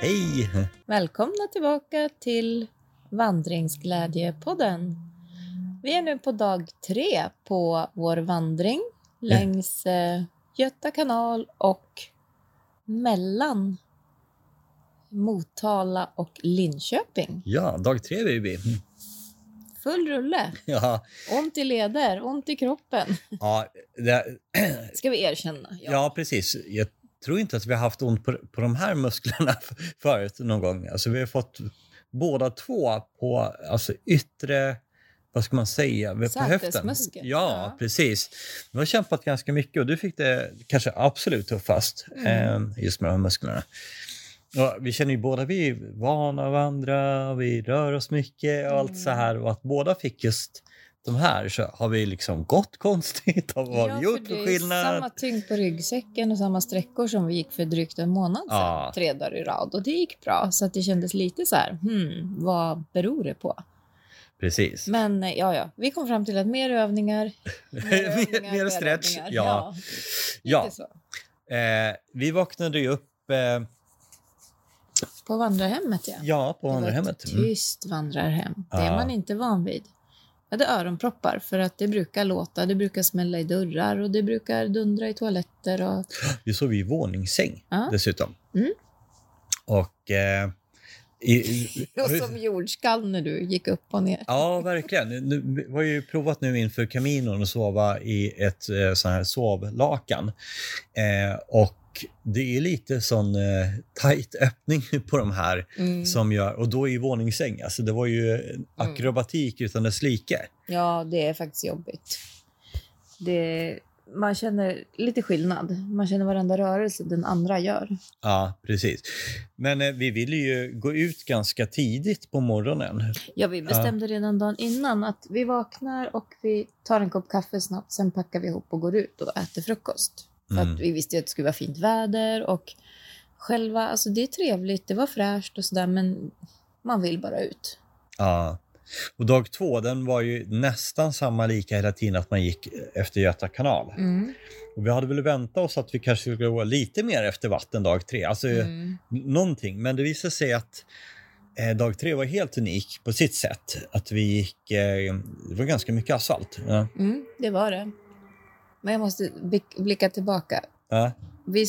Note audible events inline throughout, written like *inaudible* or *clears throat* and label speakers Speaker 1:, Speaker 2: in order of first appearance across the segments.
Speaker 1: Hej!
Speaker 2: Välkomna tillbaka till Vandringsglädjepodden. Vi är nu på dag tre på vår vandring
Speaker 1: Ja.
Speaker 2: längs eh, Göta kanal och mellan Motala och Linköping.
Speaker 1: Ja, dag tre baby. *laughs* Mm.
Speaker 2: Full rulle.
Speaker 1: Ja,
Speaker 2: Ont i leder, ont i kroppen.
Speaker 1: ja, det,
Speaker 2: Ska vi erkänna. Ja.
Speaker 1: ja, precis. Jag tror inte att vi har haft ont på, på de här musklerna *laughs* förut någon gång. Alltså, vi har fått båda två på alltså, yttre... Vad ska man säga? På höften. Ja,
Speaker 2: Sätesmuskel. Ja.
Speaker 1: precis. Vi har kämpat ganska mycket och du fick det kanske absolut tuffast
Speaker 2: Mm.
Speaker 1: eh, just med de här musklerna. Ja, vi känner ju båda vi är vana av andra, vi rör oss mycket och allt
Speaker 2: Mm.
Speaker 1: så här. Och att båda fick just de här så har vi liksom gått *laughs* konstigt. Har vad har vi
Speaker 2: Ja,
Speaker 1: gjort
Speaker 2: det
Speaker 1: för
Speaker 2: är
Speaker 1: skillnad?
Speaker 2: Samma tyngd på ryggsäcken och samma sträckor som vi gick för drygt en månad sedan.
Speaker 1: Ja.
Speaker 2: Tre dagar i rad. Och det gick bra. Så att det kändes lite så här, hmm, vad beror det på?
Speaker 1: Precis.
Speaker 2: Men eh, ja, ja, vi kom fram till att mer
Speaker 1: *laughs*
Speaker 2: övningar,
Speaker 1: Mer- mer stretch,
Speaker 2: övningar.
Speaker 1: ja.
Speaker 2: Ja,
Speaker 1: Ja,
Speaker 2: lite så.
Speaker 1: eh, vi vaknade ju upp eh,
Speaker 2: På vandrarhemmet, ja.
Speaker 1: ja, på
Speaker 2: Det var
Speaker 1: vandrarhemmet.
Speaker 2: ett
Speaker 1: Mm.
Speaker 2: Tyst vandrarhem. Det är
Speaker 1: Ja.
Speaker 2: man inte van vid. Jag hade öronproppar för att det brukar låta, det brukar smälla i dörrar och det brukar dundra i toaletter och...
Speaker 1: Vi sov i våningssäng
Speaker 2: Ja.
Speaker 1: dessutom.
Speaker 2: Mm.
Speaker 1: Och... Eh, i,
Speaker 2: *laughs*
Speaker 1: i-
Speaker 2: Och som jordskall när du gick upp och ner.
Speaker 1: Ja, verkligen. Nu, vi har ju provat nu inför kaminon att sova i ett eh, sån här sovlakan. Eh, och det är lite sån eh, tajt öppning på de här
Speaker 2: Mm.
Speaker 1: som gör, och då i våningssäng. Alltså det var ju en akrobatik utan dess like.
Speaker 2: Ja, det är faktiskt jobbigt. Det, man känner lite skillnad. Man känner varenda rörelse den andra gör.
Speaker 1: Ja, precis. Men eh, vi ville ju gå ut ganska tidigt på morgonen.
Speaker 2: Ja, vi bestämde redan dagen innan att vi vaknar och vi tar en kopp kaffe snabbt. Sen packar vi ihop och går ut och äter frukost. För
Speaker 1: Mm.
Speaker 2: att vi visste ju att det skulle vara fint väder och själva, alltså det är trevligt, det var fräscht och sådär, men man vill bara ut.
Speaker 1: Ja. Och dag två, den var ju nästan samma lika hela tiden att man gick efter Göta kanal.
Speaker 2: Mm.
Speaker 1: Och vi hade väl väntat oss att vi kanske skulle gå lite mer efter vatten dag tre, alltså mm.
Speaker 2: Mm.
Speaker 1: någonting. Men det visade sig att eh, dag tre var helt unik på sitt sätt. Att vi gick, eh, det var ganska mycket asfalt. Ja.
Speaker 2: Mm, det var det. Men jag måste blick- blicka tillbaka.
Speaker 1: Ja.
Speaker 2: Vi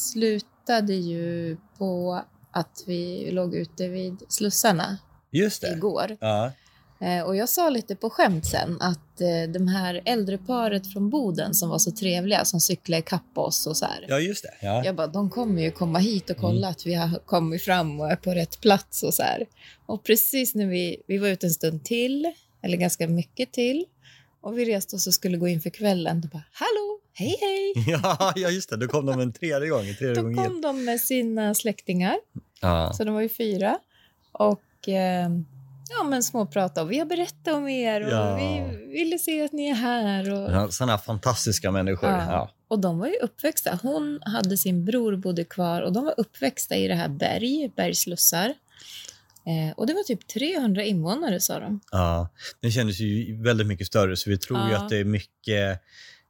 Speaker 2: slutade ju på att vi låg ute vid slussarna
Speaker 1: Just det.
Speaker 2: igår.
Speaker 1: Ja.
Speaker 2: Eh, Och jag sa lite på skämt sen att eh, de här äldreparet från Boden som var så trevliga som cyklade ikapp oss och så här.
Speaker 1: ja, just det. Ja.
Speaker 2: Jag bara, de kommer ju komma hit och kolla att vi har kommit fram och är på rätt plats och så här. Och precis när vi, vi var ute en stund till, eller ganska mycket till, och vi reste oss och skulle gå in för kvällen, då bara, hallå, hej hej!
Speaker 1: Ja, *laughs* ja, just det. Då kom de en tredje gång. en Tredje
Speaker 2: Då
Speaker 1: gång igen.
Speaker 2: kom de med sina släktingar,
Speaker 1: Ja.
Speaker 2: så de var ju fyra. Och eh, ja, men småprata och vi har berättat om er och
Speaker 1: Ja.
Speaker 2: vi ville se att ni är här. Och,
Speaker 1: Ja, Såna här fantastiska människor.
Speaker 2: Ja.
Speaker 1: Ja.
Speaker 2: och de var ju uppväxta. Hon hade sin bror bodde kvar och de var uppväxta i det här berg, bergslussar. Eh, och det var typ 300 invånare sa de.
Speaker 1: Ja. Den kändes ju väldigt mycket större, så vi tror ju
Speaker 2: Ja.
Speaker 1: att det är mycket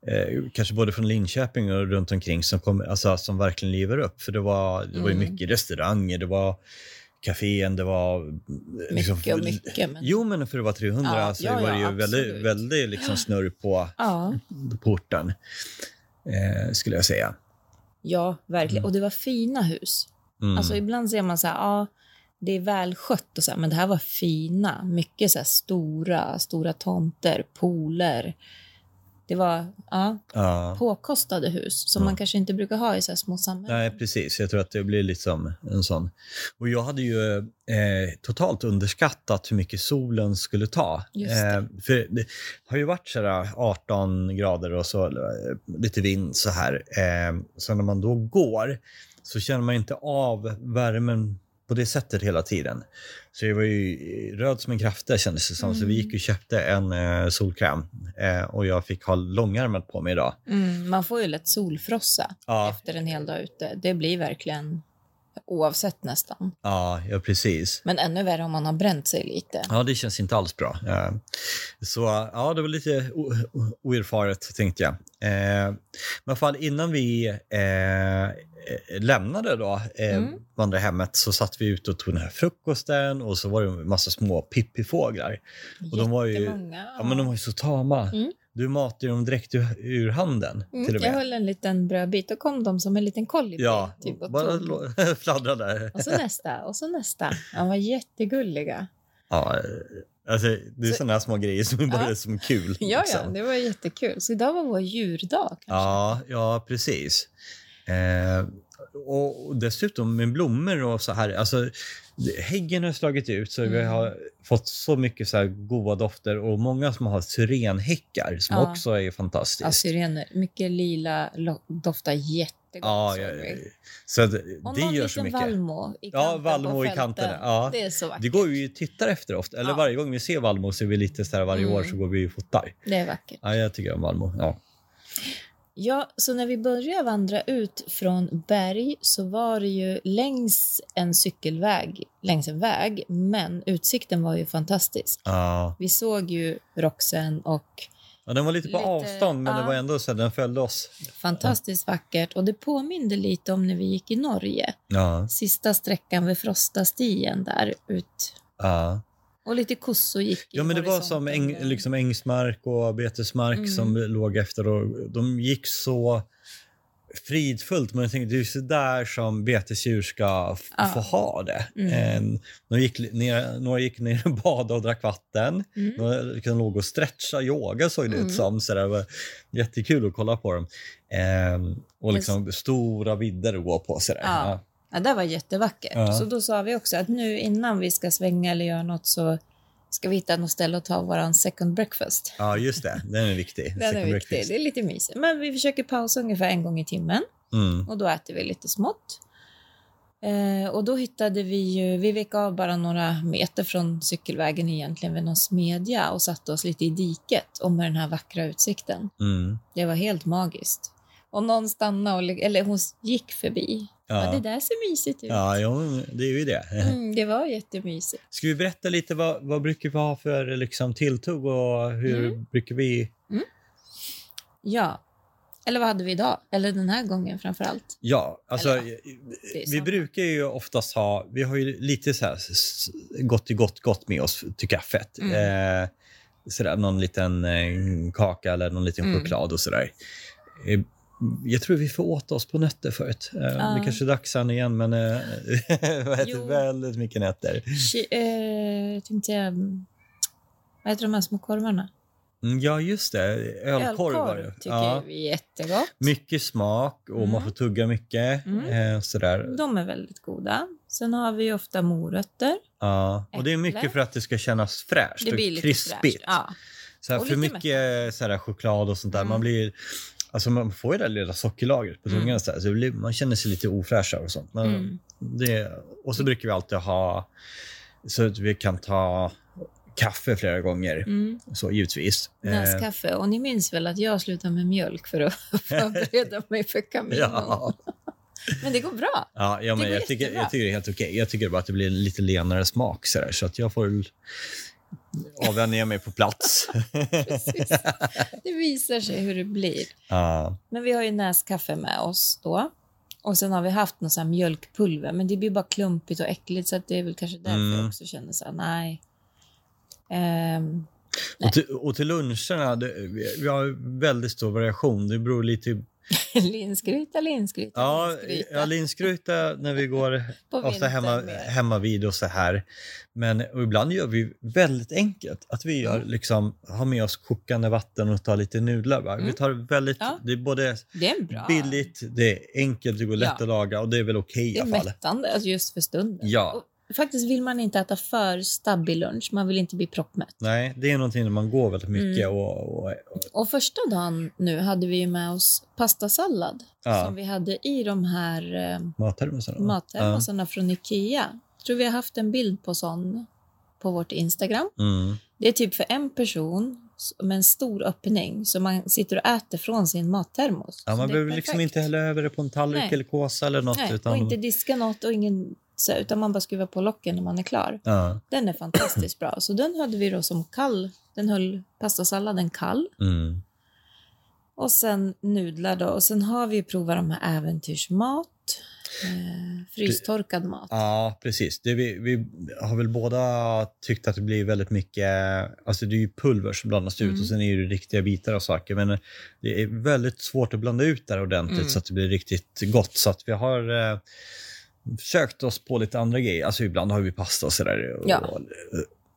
Speaker 1: Eh, kanske både från Linköping och runt omkring som, kom, alltså, som verkligen lever upp. För det var, det var ju
Speaker 2: Mm.
Speaker 1: mycket restauranger, det var kafén, det var... eh, liksom-
Speaker 2: Mycket och mycket. Men...
Speaker 1: Jo, men för det var 300
Speaker 2: Ja,
Speaker 1: så
Speaker 2: ja,
Speaker 1: det var
Speaker 2: ja,
Speaker 1: ju väldigt,
Speaker 2: absolut.
Speaker 1: väldigt liksom snurr på
Speaker 2: Ja,
Speaker 1: porten, eh, skulle jag säga.
Speaker 2: ja, verkligen.
Speaker 1: Mm.
Speaker 2: Och det var fina hus.
Speaker 1: Mm.
Speaker 2: Alltså ibland ser man så här, ja, det är välskött och så här, men det här var fina, mycket så här stora, stora tomter, pooler. Det var ja,
Speaker 1: ja.
Speaker 2: påkostade hus som
Speaker 1: Ja.
Speaker 2: man kanske inte brukar ha i så här små samhällen.
Speaker 1: Nej, precis. Jag tror att det blir liksom en sån. Och jag hade ju eh, totalt underskattat hur mycket solen skulle ta.
Speaker 2: Just det.
Speaker 1: Eh, för det har ju varit så här 18 grader och så eh, lite vind så här. Eh, så när man då går så känner man inte av värmen på det sättet hela tiden. Så jag var ju eh, röd som en krafter kändes det som. Så vi
Speaker 2: Mm.
Speaker 1: gick och köpte en eh, solkräm eh, och jag fick ha långärmat på mig idag.
Speaker 2: Mm, man får ju lätt solfrossa
Speaker 1: Ja,
Speaker 2: efter en hel dag ute. Det blir verkligen oavsett nästan.
Speaker 1: Ja, ja precis.
Speaker 2: Men ännu värre om man har bränt sig lite.
Speaker 1: Ja, det känns inte alls bra. Eh, Så ja, det var lite o- o- oerfaret tänkte jag. Eh, Men i alla fall innan vi eh, eh, lämnade då eh,
Speaker 2: Mm.
Speaker 1: vandrarhemmet så satt vi ute och tog den här frukosten och så var det en massa små pippifåglar. Och de var ju-
Speaker 2: Jättemånga.
Speaker 1: Ja, men de var ju så tama.
Speaker 2: Mm.
Speaker 1: Du matade dem direkt ur, ur handen till
Speaker 2: mm,
Speaker 1: och
Speaker 2: jag
Speaker 1: med.
Speaker 2: höll en liten brödbit och kom de som en liten kolibri.
Speaker 1: ja,
Speaker 2: typ, och
Speaker 1: bara
Speaker 2: tog.
Speaker 1: lo- *laughs* fladdrade där.
Speaker 2: Och så nästa och så nästa. De var jättegulliga.
Speaker 1: Ja, alltså, det är
Speaker 2: Så-
Speaker 1: sådana här små grejer som är bara
Speaker 2: Ja.
Speaker 1: som kul.
Speaker 2: Ja, ja,
Speaker 1: liksom.
Speaker 2: det var jättekul. Så idag var vår djurdag. Kanske.
Speaker 1: Ja, ja precis. Eh, och och dessutom med blommor och så här. Alltså, det- häggen har slagit ut så vi
Speaker 2: Mm.
Speaker 1: har fått så mycket så här goda dofter och många som har syrenhäckar som
Speaker 2: Ja.
Speaker 1: också är fantastiskt.
Speaker 2: Ja, syrener. Mycket lila, lo- doftar jättegott.
Speaker 1: ja,
Speaker 2: såg
Speaker 1: ja,
Speaker 2: vi.
Speaker 1: så att
Speaker 2: Och
Speaker 1: det
Speaker 2: någon
Speaker 1: gör
Speaker 2: liten
Speaker 1: så mycket.
Speaker 2: vallmo i
Speaker 1: Ja,
Speaker 2: kanten på
Speaker 1: vallmo i
Speaker 2: fälten.
Speaker 1: kanterna, ja.
Speaker 2: Det är så vackert.
Speaker 1: Det går vi ju och tittar efter ofta. Eller
Speaker 2: Ja.
Speaker 1: varje gång vi ser Valmo så är vi lite så här varje
Speaker 2: Mm.
Speaker 1: år så går vi och fotar.
Speaker 2: Det är vackert.
Speaker 1: Ja, jag tycker om Valmo. Ja.
Speaker 2: Ja, så när vi började vandra ut från berg så var det ju längs en cykelväg, längs en väg, men utsikten var ju fantastisk.
Speaker 1: Ja.
Speaker 2: Vi såg ju Roxen och
Speaker 1: Ja, den var lite på
Speaker 2: Lite-
Speaker 1: avstånd men det
Speaker 2: ja.
Speaker 1: var ändå så här, den följde oss.
Speaker 2: fantastiskt vackert och det påminde lite om när vi gick i Norge,
Speaker 1: Ja.
Speaker 2: sista sträckan vid Frostastien där ut.
Speaker 1: Ja.
Speaker 2: Och lite kossor gick i
Speaker 1: Ja, men det var som
Speaker 2: horisonten Mm.
Speaker 1: äng,
Speaker 2: där.
Speaker 1: liksom ängsmark och betesmark
Speaker 2: Mm.
Speaker 1: som låg efter. Och de gick så fridfullt, men jag tänkte det är ju så där som betesdjur ska f-
Speaker 2: Ja.
Speaker 1: få ha det.
Speaker 2: Mm.
Speaker 1: En- de gick li- ner, några gick ner och *laughs* badade och drack vatten.
Speaker 2: Mm.
Speaker 1: Några liksom låg och stretcha, yoga såg det
Speaker 2: Mm.
Speaker 1: ut som. Så där. det var jättekul att kolla på dem. Ehm, och liksom stora vidder att gå på. Så där.
Speaker 2: Ja.
Speaker 1: Ja.
Speaker 2: Ja, det var jättevackert.
Speaker 1: Ja.
Speaker 2: Så då sa vi också att nu innan vi ska svänga eller göra något så ska vi hitta något ställe att ta vår second breakfast.
Speaker 1: ja, just det. Den är viktig.
Speaker 2: Den är
Speaker 1: Second
Speaker 2: viktig.
Speaker 1: breakfast.
Speaker 2: Det är lite mysigt. Men vi försöker pausa ungefär en gång i timmen
Speaker 1: Mm.
Speaker 2: och då äter vi lite smått. Eh, och då hittade vi ju, vi vek av bara några meter från cykelvägen egentligen vid någon smedja och satte oss lite i diket och med den här vackra utsikten.
Speaker 1: Mm.
Speaker 2: Det var helt magiskt. Och någon stannade, och, li- eller hon gick förbi. Ja. det där ser mysigt ut.
Speaker 1: Ja, jo, det är ju det.
Speaker 2: Mm, det var jättemysigt.
Speaker 1: Ska vi berätta lite vad, vad brukar vi ha för liksom, tilltugg och hur
Speaker 2: Mm.
Speaker 1: brukar vi...
Speaker 2: Ja. Eller vad hade vi idag? Eller den här gången framför allt.
Speaker 1: Ja, alltså
Speaker 2: Eller, det är
Speaker 1: vi
Speaker 2: samma.
Speaker 1: brukar ju oftast ha... Vi har ju lite så här s- gott i gott gott med oss till kaffet.
Speaker 2: Mm.
Speaker 1: Eh, sådär, någon liten eh, kaka eller någon liten
Speaker 2: Mm.
Speaker 1: choklad och sådär. Eh, jag tror vi får åt oss på nötter förut. Eh, Det
Speaker 2: Ja.
Speaker 1: kanske är dags sen igen, men eh, *laughs* vi har
Speaker 2: Jo.
Speaker 1: ätit väldigt mycket nötter.
Speaker 2: Ki- eh, tänkte jag... mm, Vad heter de här små korvarna?
Speaker 1: Mm, Ja, just det. Ölkorvar.
Speaker 2: Ölkorv tycker
Speaker 1: ja.
Speaker 2: vi är jättegott.
Speaker 1: Mycket smak och man
Speaker 2: Mm.
Speaker 1: får tugga mycket.
Speaker 2: Mm.
Speaker 1: Eh, sådär.
Speaker 2: De är väldigt goda. Sen har vi ju ofta morötter.
Speaker 1: Ja. Och det är mycket
Speaker 2: Äpple.
Speaker 1: för att det ska kännas fräscht
Speaker 2: Det
Speaker 1: och
Speaker 2: blir lite
Speaker 1: krispigt.
Speaker 2: fräscht. Ja.
Speaker 1: Så här,
Speaker 2: Och
Speaker 1: för
Speaker 2: lite
Speaker 1: mycket sådär, choklad och sånt där.
Speaker 2: Mm.
Speaker 1: Man, blir, alltså, man får ju det där lilla sockerlagret på
Speaker 2: Mm.
Speaker 1: tungan. Så så det blir, man känner sig lite ofräschare och sånt. Men
Speaker 2: Mm.
Speaker 1: det, och så brukar vi alltid ha så att vi kan ta kaffe flera gånger.
Speaker 2: Mm.
Speaker 1: Så givetvis. Eh,
Speaker 2: Näskaffe. Och ni minns väl att jag slutade med mjölk för att *laughs* förbereda mig för kaminen.
Speaker 1: Eh, Ja,
Speaker 2: Men det går bra.
Speaker 1: ja, ja men
Speaker 2: går
Speaker 1: jag, tycker,
Speaker 2: jättebra.
Speaker 1: jag tycker det är helt okej. Jag tycker bara att det blir en lite lenare smak så, där, så att jag får väl avvänja mig på
Speaker 2: *laughs*
Speaker 1: plats.
Speaker 2: Precis. Det visar sig hur det blir.
Speaker 1: ja,
Speaker 2: Men vi har ju näskaffe med oss då. Och sen har vi haft någon sån här mjölkpulver, men det blir bara klumpigt och äckligt så att det är väl kanske därför
Speaker 1: Mm.
Speaker 2: jag också känner så här, nej. Ehm, *laughs*
Speaker 1: och, till, och till luncherna, det, vi vi har väldigt stor variation. Det beror lite...
Speaker 2: linsgryta, linsgryta,
Speaker 1: Ja,
Speaker 2: linsgryta.
Speaker 1: ja linsgryta när vi går
Speaker 2: på
Speaker 1: ofta
Speaker 2: vintern
Speaker 1: hemma,
Speaker 2: mer.
Speaker 1: hemma vid och så här. Men och ibland gör vi väldigt enkelt. Att vi
Speaker 2: Mm.
Speaker 1: gör, liksom, har med oss kokande vatten och tar lite nudlar. Va? Vi
Speaker 2: Mm.
Speaker 1: tar väldigt...
Speaker 2: Ja.
Speaker 1: Det är både
Speaker 2: Det är en bra.
Speaker 1: billigt, det är enkelt, det går lätt
Speaker 2: Ja.
Speaker 1: att laga och det är väl okej i
Speaker 2: Det är
Speaker 1: alla fall.
Speaker 2: mättande alltså just för stunden.
Speaker 1: Ja,
Speaker 2: Och faktiskt vill man inte äta för stabbig lunch, man vill inte bli proppmätt.
Speaker 1: nej, det är någonting när man går väldigt mycket
Speaker 2: Mm.
Speaker 1: och, och
Speaker 2: Och första dagen nu hade vi ju med oss pastasallad
Speaker 1: Ja.
Speaker 2: som vi hade i de här eh,
Speaker 1: mattermosarna.
Speaker 2: mattermosarna från Ikea. Jag tror vi har haft en bild på sån på vårt Instagram.
Speaker 1: Ja. Mm.
Speaker 2: Det är typ för en person s- med en stor öppning så man sitter och äter från sin mattermos.
Speaker 1: Ja,
Speaker 2: Så
Speaker 1: man
Speaker 2: det är
Speaker 1: behöver liksom
Speaker 2: perfekt.
Speaker 1: inte hälla över det på en tallrik
Speaker 2: Nej.
Speaker 1: eller kåsa eller något.
Speaker 2: Nej,
Speaker 1: utan,
Speaker 2: och inte diska något och ingen, så, här, utan man bara skruvar på locken när man är klar.
Speaker 1: ja,
Speaker 2: Den är fantastiskt bra. Så den hade vi då som kall. Den höll pastasalladen kall.
Speaker 1: mm,
Speaker 2: Och sen nudlar då. Och sen har vi ju provat de här äventyrsmat. Eh, frystorkad mat.
Speaker 1: ja precis. Det, vi, vi har väl båda tyckt att det blir väldigt mycket... Alltså det är ju pulver som blandas ut
Speaker 2: Mm.
Speaker 1: och sen är det ju riktiga bitar av saker. Men det är väldigt svårt att blanda ut det här ordentligt
Speaker 2: Mm.
Speaker 1: så att det blir riktigt gott. Så att vi har... Eh, Försökt oss på lite andra grejer. Alltså ibland har vi pasta och sådär. Och,
Speaker 2: Ja.
Speaker 1: och, och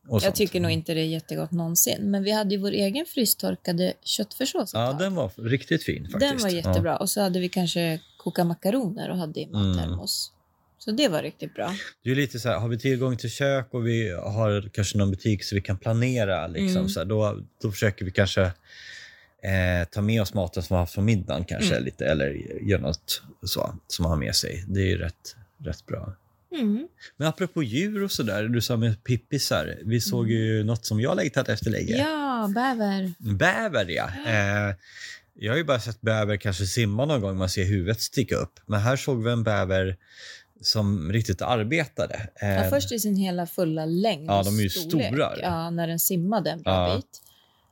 Speaker 2: Jag
Speaker 1: sånt. Mm.
Speaker 2: tycker nog inte det är jättegott någonsin. Men vi hade ju vår egen frystorkade köttfärssås ett
Speaker 1: Ja,
Speaker 2: tag.
Speaker 1: den var riktigt fin faktiskt.
Speaker 2: Den var jättebra. Och så hade vi kanske koka makaroner och hade i
Speaker 1: Mm.
Speaker 2: mattermos. Så det var riktigt bra.
Speaker 1: Det är ju lite så här, har vi tillgång till kök och vi har kanske någon butik så vi kan planera, liksom,
Speaker 2: Mm.
Speaker 1: så här, då, då försöker vi kanske eh, ta med oss maten som vi har haft från middagen kanske
Speaker 2: Mm.
Speaker 1: lite, eller göra något så, som man har med sig. Det är ju rätt, rätt bra.
Speaker 2: Mm.
Speaker 1: Men apropå djur och sådär, du sa med pippisar. Vi såg ju något som jag längtat efter länge.
Speaker 2: Mm. Ja, bäver.
Speaker 1: Bäver, ja. Eh, jag har ju bara sett bäver kanske simma någon gång, man ser huvudet sticka upp. Men här såg vi en bäver som riktigt arbetade. Eh,
Speaker 2: Ja, först i sin hela fulla längd.
Speaker 1: Ja,
Speaker 2: och
Speaker 1: de är ju
Speaker 2: storlek.
Speaker 1: stora.
Speaker 2: Ja, när den simmade en bra
Speaker 1: Ja.
Speaker 2: bit.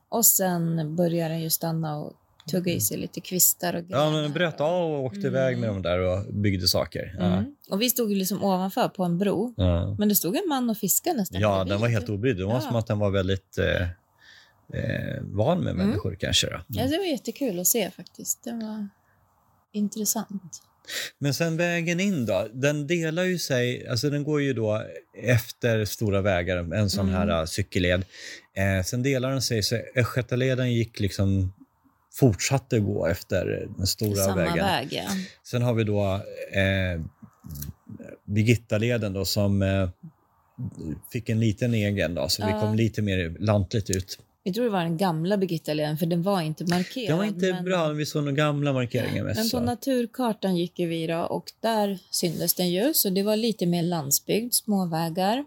Speaker 2: Och sen börjar den ju stanna och tugga i sig lite kvistar och
Speaker 1: Mm. Ja,
Speaker 2: grenar.
Speaker 1: men den bröt av och åkte
Speaker 2: Mm.
Speaker 1: iväg med dem där och byggde saker. Ja.
Speaker 2: Mm. Och vi stod ju liksom ovanför på en bro.
Speaker 1: Ja.
Speaker 2: Men det stod en man och fiskade nästan.
Speaker 1: ja,
Speaker 2: bredvid.
Speaker 1: den var helt obrydd. Det var
Speaker 2: Ja.
Speaker 1: som att den var väldigt eh, eh, van med
Speaker 2: Mm.
Speaker 1: människor kanske. Då.
Speaker 2: Ja, det var jättekul att se faktiskt. Det var intressant.
Speaker 1: Men sen vägen in då? Den delar ju sig, alltså den går ju då efter stora vägar, en sån
Speaker 2: Mm.
Speaker 1: här eh, cykelled. Eh, sen delar den sig, så Östgötaleden gick liksom fortsatte gå efter den stora
Speaker 2: Samma
Speaker 1: vägen.
Speaker 2: väg, ja.
Speaker 1: Sen har vi då eh, Birgittaleden då, som eh, fick en liten egen då, så vi
Speaker 2: Ja.
Speaker 1: kom lite mer lantligt ut.
Speaker 2: Vi tror det var den gamla Birgittaleden, för den var inte markerad.
Speaker 1: Det var inte
Speaker 2: men...
Speaker 1: bra, Alltså. vi såg några gamla markeringar mest.
Speaker 2: Men på
Speaker 1: så.
Speaker 2: naturkartan gick ju vi då och där syndes den ju, så det var lite mer landsbygd, små vägar.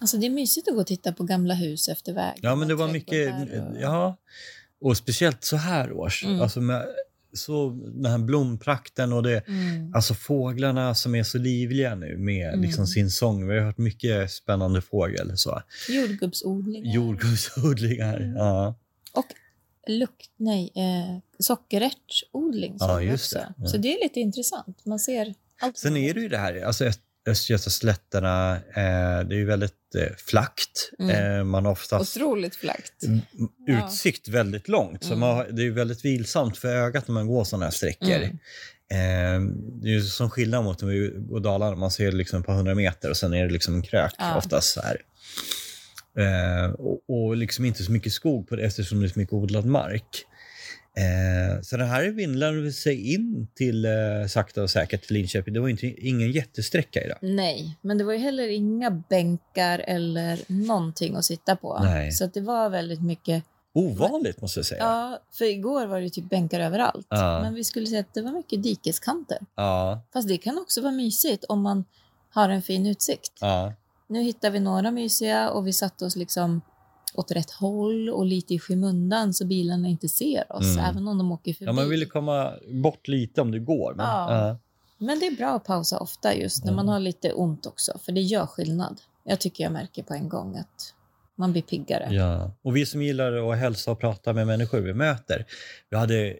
Speaker 2: Alltså det är mysigt att gå och titta på gamla hus efter väg.
Speaker 1: Ja, men det var
Speaker 2: Och
Speaker 1: mycket...
Speaker 2: trädgårdar Och...
Speaker 1: Ja, och speciellt så här års.
Speaker 2: Mm.
Speaker 1: Alltså med, så, den här blomprakten och det...
Speaker 2: Mm.
Speaker 1: Alltså fåglarna som är så livliga nu med
Speaker 2: Mm.
Speaker 1: liksom sin sång. Vi har hört mycket spännande fågel. Så.
Speaker 2: Jordgubbsodlingar.
Speaker 1: Jordgubbsodlingar.
Speaker 2: Mm.
Speaker 1: Ja.
Speaker 2: Lukt, nej, eh, sockerärtsodling. såg
Speaker 1: Ja,
Speaker 2: vi
Speaker 1: just
Speaker 2: också.
Speaker 1: det. Ja.
Speaker 2: Så det är lite intressant. Man ser allt.
Speaker 1: Sen är det ju det här, alltså Öst- Östgötaslätterna, eh, det är ju väldigt eh, flackt.
Speaker 2: Mm.
Speaker 1: Eh, man har oftast
Speaker 2: Otroligt flackt.
Speaker 1: m-
Speaker 2: Ja.
Speaker 1: Mm. utsikt väldigt långt, så
Speaker 2: Mm.
Speaker 1: man, har- det är ju väldigt vilsamt för ögat när man går sådana här sträckor.
Speaker 2: Mm.
Speaker 1: Eh, det är ju som skillnad mot när vi går Dalarna, man ser liksom ett par hundra meter och sen är det liksom en krök
Speaker 2: Ja.
Speaker 1: oftast. Så här. Eh, och, och liksom inte så mycket skog på det eftersom det är så mycket odlad mark. Eh, så den här vindlar sig in till eh, sakta och säkert till Linköping. Det var inte, ingen jättesträcka i det.
Speaker 2: Nej, men det var ju heller inga bänkar eller någonting att sitta på.
Speaker 1: Nej.
Speaker 2: Så att det var väldigt mycket
Speaker 1: Ovanligt måste jag säga. Ja.
Speaker 2: Ja, för igår var det ju typ bänkar överallt.
Speaker 1: Ja.
Speaker 2: Men vi skulle säga att det var mycket dikeskanter. Fast det kan också vara mysigt om man har en fin utsikt.
Speaker 1: ja.
Speaker 2: Nu hittade vi några mysiga och vi satte oss liksom åt rätt håll och lite i skymundan så bilarna inte ser oss,
Speaker 1: Mm.
Speaker 2: även om de åker förbi.
Speaker 1: ja, man ville komma bort lite om det går. Men,
Speaker 2: Ja.
Speaker 1: ja.
Speaker 2: Men det är bra att pausa ofta just när
Speaker 1: Mm.
Speaker 2: man har lite ont också, för det gör skillnad. Jag tycker jag märker på en gång att man blir piggare.
Speaker 1: Ja. Och vi som gillar att hälsa och prata med människor vi möter. Vi hade, eh,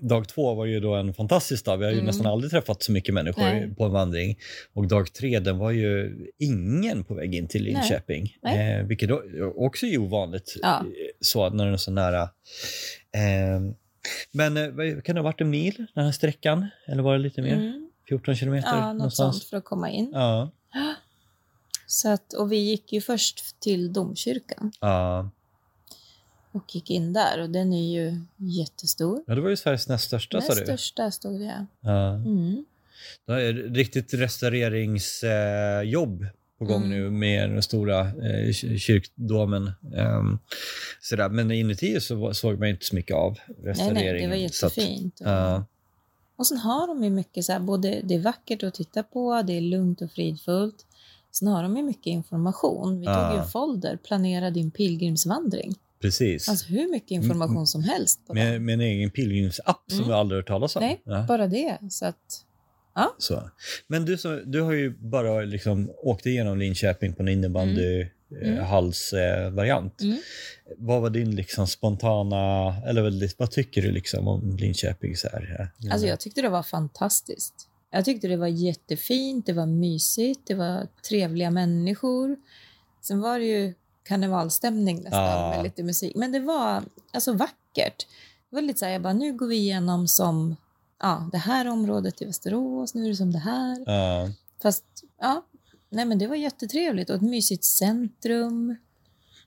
Speaker 1: dag två var ju då en fantastisk dag. Vi har ju
Speaker 2: Mm.
Speaker 1: nästan aldrig träffat så mycket människor
Speaker 2: Nej.
Speaker 1: på en vandring. Och dag tre, den var ju ingen på väg in till
Speaker 2: Nej.
Speaker 1: Linköping.
Speaker 2: Nej.
Speaker 1: Eh, vilket då också är ovanligt,
Speaker 2: Ja.
Speaker 1: eh, så, när den är så nära. Eh, men eh, vad- kan det ha varit en mil, den här sträckan? Eller var det lite mer?
Speaker 2: Mm.
Speaker 1: 14 kilometer?
Speaker 2: Ja, något sånt för att komma in.
Speaker 1: Ja,
Speaker 2: *gasps* Så att, och vi gick ju först till domkyrkan.
Speaker 1: ja.
Speaker 2: och gick in där och den är ju jättestor.
Speaker 1: ja, det var ju Sveriges näst största,
Speaker 2: Den
Speaker 1: sa du.
Speaker 2: största stod det.
Speaker 1: Ja.
Speaker 2: Mm.
Speaker 1: Det är riktigt restaureringsjobb eh, på gång
Speaker 2: Mm.
Speaker 1: nu med den stora eh, ky- kyrkdomen. Ehm, sådär. Men inuti så var- såg man inte så mycket av
Speaker 2: Nej,
Speaker 1: restaureringen.
Speaker 2: nej, det var
Speaker 1: så att,
Speaker 2: jättefint.
Speaker 1: ja.
Speaker 2: Och sen har de ju mycket så här, både det är vackert att titta på, det är lugnt och fridfullt. Sen har de ju mycket information. Vi
Speaker 1: Ja.
Speaker 2: tog ju en folder, planera din pilgrimsvandring.
Speaker 1: Precis.
Speaker 2: Alltså hur mycket information som helst. På
Speaker 1: med,
Speaker 2: den.
Speaker 1: med en egen pilgrimsapp som
Speaker 2: Mm.
Speaker 1: vi aldrig hört talas om.
Speaker 2: Nej,
Speaker 1: Ja,
Speaker 2: bara det. Så att,
Speaker 1: så. Men du, så, du har ju bara liksom åkt igenom Linköping på en eh,
Speaker 2: Mm.
Speaker 1: innebandyhalsvariant.
Speaker 2: Mm.
Speaker 1: Vad var din liksom spontana, eller vad- vad tycker du liksom om Linköping? Så här? Ja.
Speaker 2: alltså jag tyckte det var fantastiskt. Jag tyckte det var jättefint, det var mysigt, det var trevliga människor. Sen var det ju karnevalstämning nästan
Speaker 1: Ja.
Speaker 2: med lite musik. Men det var alltså vackert. Det var lite så här, jag bara, nu går vi igenom som ja, det här området i Västerås, nu är det som det här.
Speaker 1: Ja.
Speaker 2: Fast ja, nej men det var jättetrevligt och ett mysigt centrum.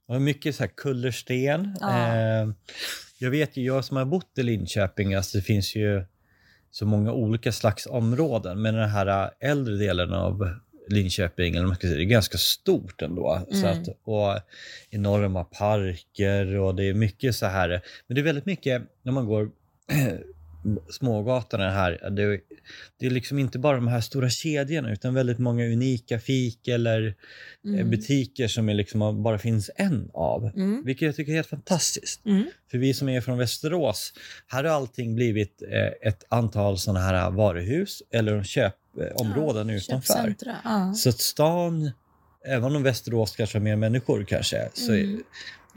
Speaker 1: Det var mycket så här kullersten.
Speaker 2: Ja.
Speaker 1: Eh, jag vet ju, jag som har bott i Linköping, alltså det finns ju så många olika slags områden. Men den här eh, äldre delen av Linköping, eller vad man ska säga, det är ganska stort ändå. Så
Speaker 2: Mm.
Speaker 1: att, och enorma parker och det är mycket så här. Men det är väldigt mycket när man går *clears throat* smågatorna här. Det, det är liksom inte bara de här stora kedjorna utan väldigt många unika fik eller eh,
Speaker 2: Mm.
Speaker 1: butiker som är liksom bara finns en av.
Speaker 2: Mm.
Speaker 1: Vilket jag tycker är helt fantastiskt.
Speaker 2: Mm.
Speaker 1: För vi som är från Västerås, här har allting blivit eh, ett antal sådana här varuhus eller köpområden utanför.
Speaker 2: Köpcentra, ja.
Speaker 1: Så att stan, även om Västerås kanske har mer människor kanske, så är
Speaker 2: Mm.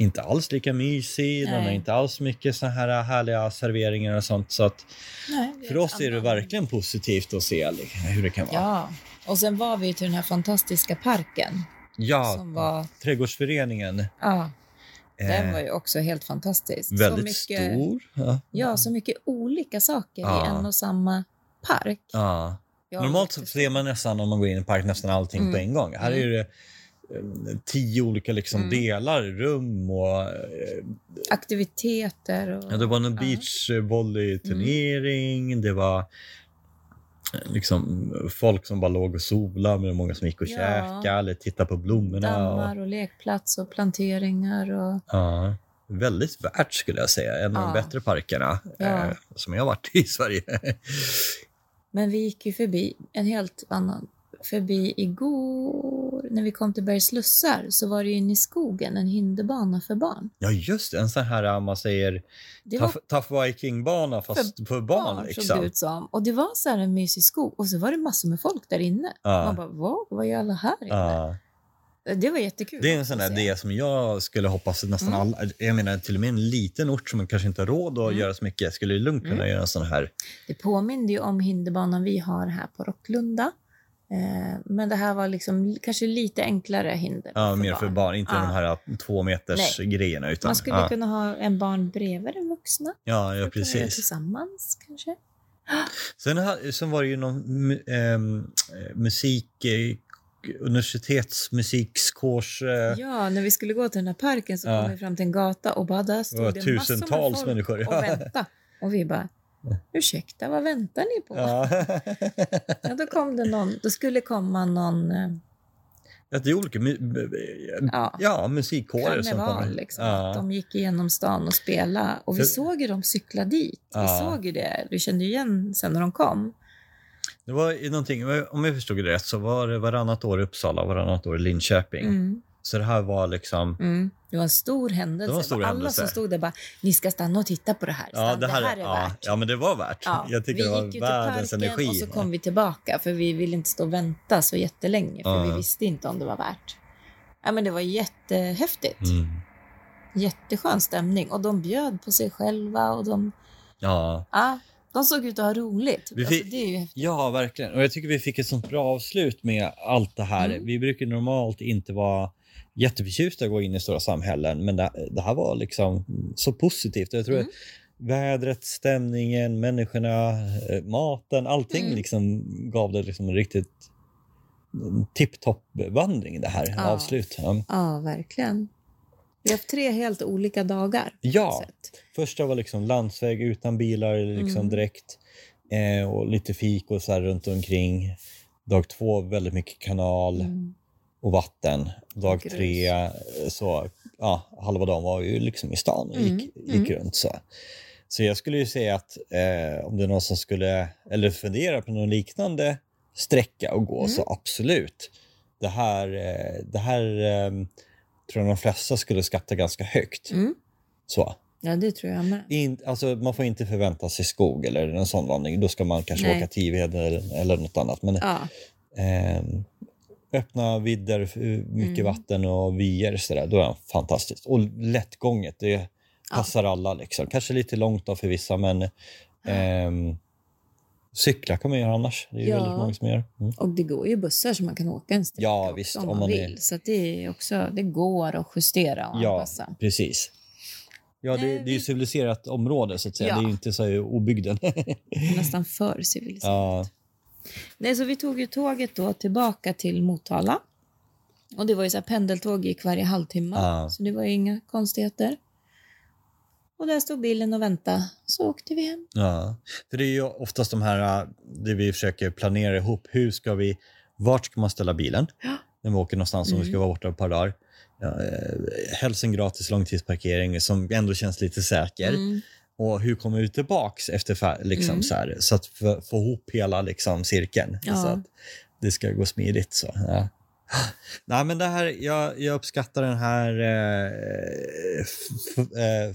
Speaker 1: inte alls lika mysig. Den har
Speaker 2: Nej.
Speaker 1: inte alls mycket så här härliga serveringar och sånt. Så att
Speaker 2: Nej, det
Speaker 1: för
Speaker 2: ett
Speaker 1: oss är det
Speaker 2: annat.
Speaker 1: verkligen positivt att se liksom, hur det kan vara.
Speaker 2: Ja, och sen var vi till den här fantastiska parken som
Speaker 1: ja
Speaker 2: var...
Speaker 1: Trädgårdsföreningen.
Speaker 2: Ja, den
Speaker 1: eh,
Speaker 2: var ju också helt fantastisk.
Speaker 1: Väldigt
Speaker 2: så mycket,
Speaker 1: stor. Ja.
Speaker 2: Ja, så mycket olika saker
Speaker 1: Ja.
Speaker 2: i en och samma park.
Speaker 1: Ja.
Speaker 2: Jag
Speaker 1: Normalt så
Speaker 2: vet
Speaker 1: ser man nästan om man går in i en park nästan allting
Speaker 2: Mm.
Speaker 1: på en gång. Här
Speaker 2: Mm.
Speaker 1: är det eh, tio olika liksom
Speaker 2: Mm.
Speaker 1: delar, rum och... eh,
Speaker 2: inte. Aktiviteter och...
Speaker 1: Ja, det var en
Speaker 2: Ja.
Speaker 1: beachvolleyturnering, det var eh, liksom folk som bara låg och solade, men det var många som gick och
Speaker 2: Ja.
Speaker 1: käkade eller tittade på blommorna. Och,
Speaker 2: dammar och lekplats och planteringar och...
Speaker 1: ja. Väldigt värt skulle jag säga, en av de
Speaker 2: Ja.
Speaker 1: bättre parkerna
Speaker 2: Ja.
Speaker 1: eh, som jag har varit i Sverige.
Speaker 2: Men vi gick ju förbi en helt annan... Förbi igår, när vi kom till Bergs slussar, så var det ju inne i skogen en hinderbana för barn.
Speaker 1: ja just det, en sån här, eh, man säger,
Speaker 2: Det var
Speaker 1: Tough, tough Viking-bana fast för, barn.
Speaker 2: såg det
Speaker 1: liksom.
Speaker 2: ut som. Och det var så här en mysig skog och så var det massor med folk där inne. Man
Speaker 1: Ja.
Speaker 2: bara, vad, vad gör alla här inne?
Speaker 1: Ja.
Speaker 2: Det var jättekul.
Speaker 1: Det är en sån där
Speaker 2: att se.
Speaker 1: idé som jag skulle hoppas att nästan
Speaker 2: Mm.
Speaker 1: alla, jag menar till och med en liten ort som kanske inte har råd att
Speaker 2: Mm.
Speaker 1: göra så mycket skulle ju lugnt kunna
Speaker 2: Mm.
Speaker 1: göra en sån här.
Speaker 2: Det påminner ju om hinderbanan vi har här på Rocklunda. Eh, Men det här var liksom kanske lite enklare hinder.
Speaker 1: Ja, mer för barn, inte
Speaker 2: Ja.
Speaker 1: de här två meters grejerna. Utan,
Speaker 2: Man skulle
Speaker 1: ja.
Speaker 2: kunna ha en barn bredvid den vuxna.
Speaker 1: ja, ja,
Speaker 2: Då kan vi göra
Speaker 1: precis.
Speaker 2: Tillsammans kanske.
Speaker 1: Sen, har- sen var det ju någon mu- ehm, eh, musik, eh, universitetsmusikkårs... Eh,
Speaker 2: Ja, när vi skulle gå till den här parken så
Speaker 1: Ja.
Speaker 2: kom vi fram till en gata och bara där
Speaker 1: Det var
Speaker 2: stod det
Speaker 1: tusentals
Speaker 2: massor med
Speaker 1: människor.
Speaker 2: folk och väntade. Och vi bara, ursäkta, vad väntar ni på?
Speaker 1: ja. *laughs*
Speaker 2: Ja, då kom det någon, då skulle komma någon, eh,
Speaker 1: Att det är olika mu-
Speaker 2: ja,
Speaker 1: ja, musikkårer som
Speaker 2: karneval
Speaker 1: kommer.
Speaker 2: liksom.
Speaker 1: Ja.
Speaker 2: Att de gick igenom stan och spelade och vi
Speaker 1: För-
Speaker 2: såg ju dem cykla dit. Vi
Speaker 1: Ja.
Speaker 2: såg ju det, vi kände ju igen sen när de kom.
Speaker 1: Det var ju någonting, om jag förstod det rätt så var det varannat år i Uppsala och varannat år i Linköping.
Speaker 2: Mm,
Speaker 1: Så det här var liksom...
Speaker 2: mm. Det var en stor händelse.
Speaker 1: Det var en stor
Speaker 2: Alla
Speaker 1: händelse.
Speaker 2: som stod där bara, ni ska stanna och titta på det här. Stanna, det, här är
Speaker 1: ja,
Speaker 2: värt.
Speaker 1: ja, men det var värt.
Speaker 2: Ja,
Speaker 1: jag tycker det var världens energi.
Speaker 2: och så kom vi tillbaka för vi ville inte stå och vänta så jättelänge för
Speaker 1: Ja.
Speaker 2: vi visste inte om det var värt. Ja, men det var jättehäftigt.
Speaker 1: Mm.
Speaker 2: Jätteskön stämning och de bjöd på sig själva och de,
Speaker 1: Ja.
Speaker 2: ja, de såg ut att ha roligt.
Speaker 1: Vi
Speaker 2: alltså,
Speaker 1: fick-
Speaker 2: det är ju häftigt.
Speaker 1: ja, verkligen. Och jag tycker vi fick ett sånt bra avslut med allt det här.
Speaker 2: Mm.
Speaker 1: Vi brukar normalt inte vara jätteförtjusta att gå in i stora samhällen, men det, det här var liksom så positivt. Jag tror
Speaker 2: Mm.
Speaker 1: att vädret, stämningen, människorna, eh, maten, allting
Speaker 2: Mm.
Speaker 1: liksom gav det liksom en riktigt mm, tipptopp-vandring det här
Speaker 2: Ja.
Speaker 1: avslut. Ja.
Speaker 2: Ja, verkligen. Vi har haft tre helt olika dagar. på
Speaker 1: Ja.
Speaker 2: ett sätt.
Speaker 1: Första var liksom landsväg utan bilar liksom
Speaker 2: Mm.
Speaker 1: direkt eh, och lite fik och så här runt omkring. Dag två väldigt mycket kanal
Speaker 2: Mm.
Speaker 1: och vatten. Dag
Speaker 2: Grus.
Speaker 1: tre eh, så ja, halva dagen var ju liksom i stan och
Speaker 2: Mm,
Speaker 1: gick, gick runt så. Så jag skulle ju säga att eh, om det är någon som skulle eller fundera på någon liknande sträcka och gå
Speaker 2: Mm.
Speaker 1: så absolut. Det här, eh, det här eh, tror jag de flesta skulle skatta ganska högt.
Speaker 2: Mm.
Speaker 1: Så.
Speaker 2: Ja, det tror jag med.
Speaker 1: In, alltså, man får inte förvänta sig skog eller en sån vandring. Då ska man kanske
Speaker 2: Nej.
Speaker 1: åka Tived eller, eller något annat. Men
Speaker 2: Ja,
Speaker 1: ehm, öppna vidder, f- mycket
Speaker 2: Mm.
Speaker 1: vatten och vyer, så där, då är det fantastiskt. Och lättgånget, det passar alla. Liksom. Kanske lite långt då för vissa, men ehm, cykla kan man göra annars. Det är ju
Speaker 2: Ja.
Speaker 1: väldigt många som gör. Mm.
Speaker 2: och det går ju bussar som man kan åka en sträcka
Speaker 1: Ja,
Speaker 2: också
Speaker 1: visst,
Speaker 2: om
Speaker 1: om
Speaker 2: man
Speaker 1: man är-
Speaker 2: vill. Så att det, är också, det går att justera och
Speaker 1: Ja.
Speaker 2: anpassa.
Speaker 1: Precis. Ja, det,
Speaker 2: Nej,
Speaker 1: det är ju
Speaker 2: vi- civiliserat
Speaker 1: civiliserat område, så att säga.
Speaker 2: Ja.
Speaker 1: Det är ju inte så här obygden. *laughs*
Speaker 2: Nästan för civiliserat.
Speaker 1: ja.
Speaker 2: Nej, så vi tog ju tåget då tillbaka till Motala. Och det var ju så här, pendeltåg gick varje halvtimme,
Speaker 1: Ja.
Speaker 2: så det var ju inga konstigheter. Och där stod bilen och väntade, så åkte vi hem.
Speaker 1: Ja, för det är ju oftast de här, äh, det vi försöker planera ihop. Hur ska vi, vart ska man ställa bilen?
Speaker 2: Ja.
Speaker 1: När vi åker någonstans, om vi ska
Speaker 2: Mm.
Speaker 1: vara borta ett par dagar. Ja, eh, helst en gratis långtidsparkering som ändå känns lite säker.
Speaker 2: Mm.
Speaker 1: Och hur kommer vi tillbaks efter, fa- liksom,
Speaker 2: Mm.
Speaker 1: så, här, så att få, få ihop hela liksom, cirkeln.
Speaker 2: Ja.
Speaker 1: Så att det ska gå smidigt. Så. Ja. Nej, men det här, jag, jag uppskattar den här eh, f- f- eh,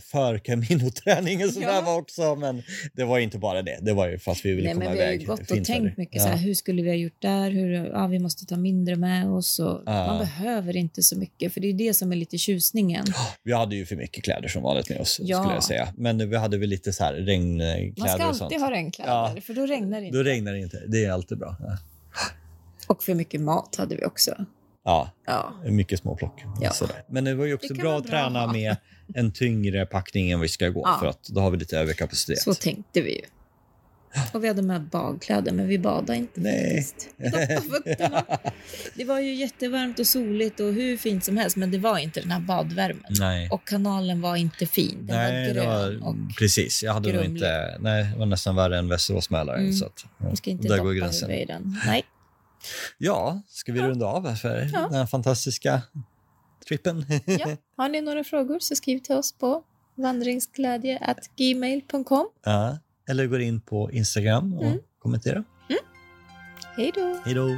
Speaker 1: förkaminoträningen som
Speaker 2: Ja.
Speaker 1: där var också. Men det var ju inte bara det. Det var ju fast vi ville
Speaker 2: Nej,
Speaker 1: komma
Speaker 2: men vi har
Speaker 1: iväg.
Speaker 2: ju gått och
Speaker 1: Fint väder.
Speaker 2: tänkt mycket
Speaker 1: ja.
Speaker 2: så här, hur skulle vi ha gjort där? Hur, ja, vi måste ta mindre med oss. Och
Speaker 1: Ja.
Speaker 2: Man behöver inte så mycket, för det är ju det som är lite tjusningen.
Speaker 1: Vi hade ju för mycket kläder som vanligt med oss,
Speaker 2: Ja.
Speaker 1: skulle jag säga. Men vi hade väl lite så här regnkläder
Speaker 2: Man ska
Speaker 1: och sånt.
Speaker 2: alltid ha regnkläder,
Speaker 1: Ja.
Speaker 2: för då regnar det inte.
Speaker 1: Då regnar det inte. Det är alltid bra. Ja,
Speaker 2: Och för mycket mat hade vi också.
Speaker 1: ja
Speaker 2: Ja.
Speaker 1: Mycket småplock.
Speaker 2: Ja.
Speaker 1: Sådär. Men det var ju också
Speaker 2: Det kan
Speaker 1: bra
Speaker 2: vara
Speaker 1: att
Speaker 2: bra att
Speaker 1: träna
Speaker 2: ha.
Speaker 1: med en tyngre packning än vi ska gå
Speaker 2: Ja.
Speaker 1: för att då har vi lite överkapacitet.
Speaker 2: Så tänkte vi ju. Och vi hade med badkläder, men vi badade inte
Speaker 1: Nej.
Speaker 2: faktiskt. *laughs* Stoppa fötterna. Det var ju jättevarmt och soligt och hur fint som helst, men det var inte den här badvärmen.
Speaker 1: Nej,
Speaker 2: Och kanalen var inte fin. Den
Speaker 1: Mm. nej
Speaker 2: var
Speaker 1: det
Speaker 2: grön.
Speaker 1: var,
Speaker 2: Och
Speaker 1: precis. Jag hade nog
Speaker 2: grumlig.
Speaker 1: inte, nej, det var nästan värre än Västerås Mälaren.
Speaker 2: Mm.
Speaker 1: Så att, ja.
Speaker 2: vi ska inte
Speaker 1: Där
Speaker 2: doppa
Speaker 1: går gränsen.
Speaker 2: huvudet i den. Nej.
Speaker 1: ja, ska vi
Speaker 2: Ja.
Speaker 1: runda av här för
Speaker 2: Ja.
Speaker 1: den här fantastiska
Speaker 2: *laughs*
Speaker 1: trippen?
Speaker 2: Ja. Har ni några frågor så skriv till oss på vandringsglädje.gmail.com.
Speaker 1: Ja. Eller går in på Instagram och
Speaker 2: Mm.
Speaker 1: kommentera.
Speaker 2: Hej då!
Speaker 1: Hej då!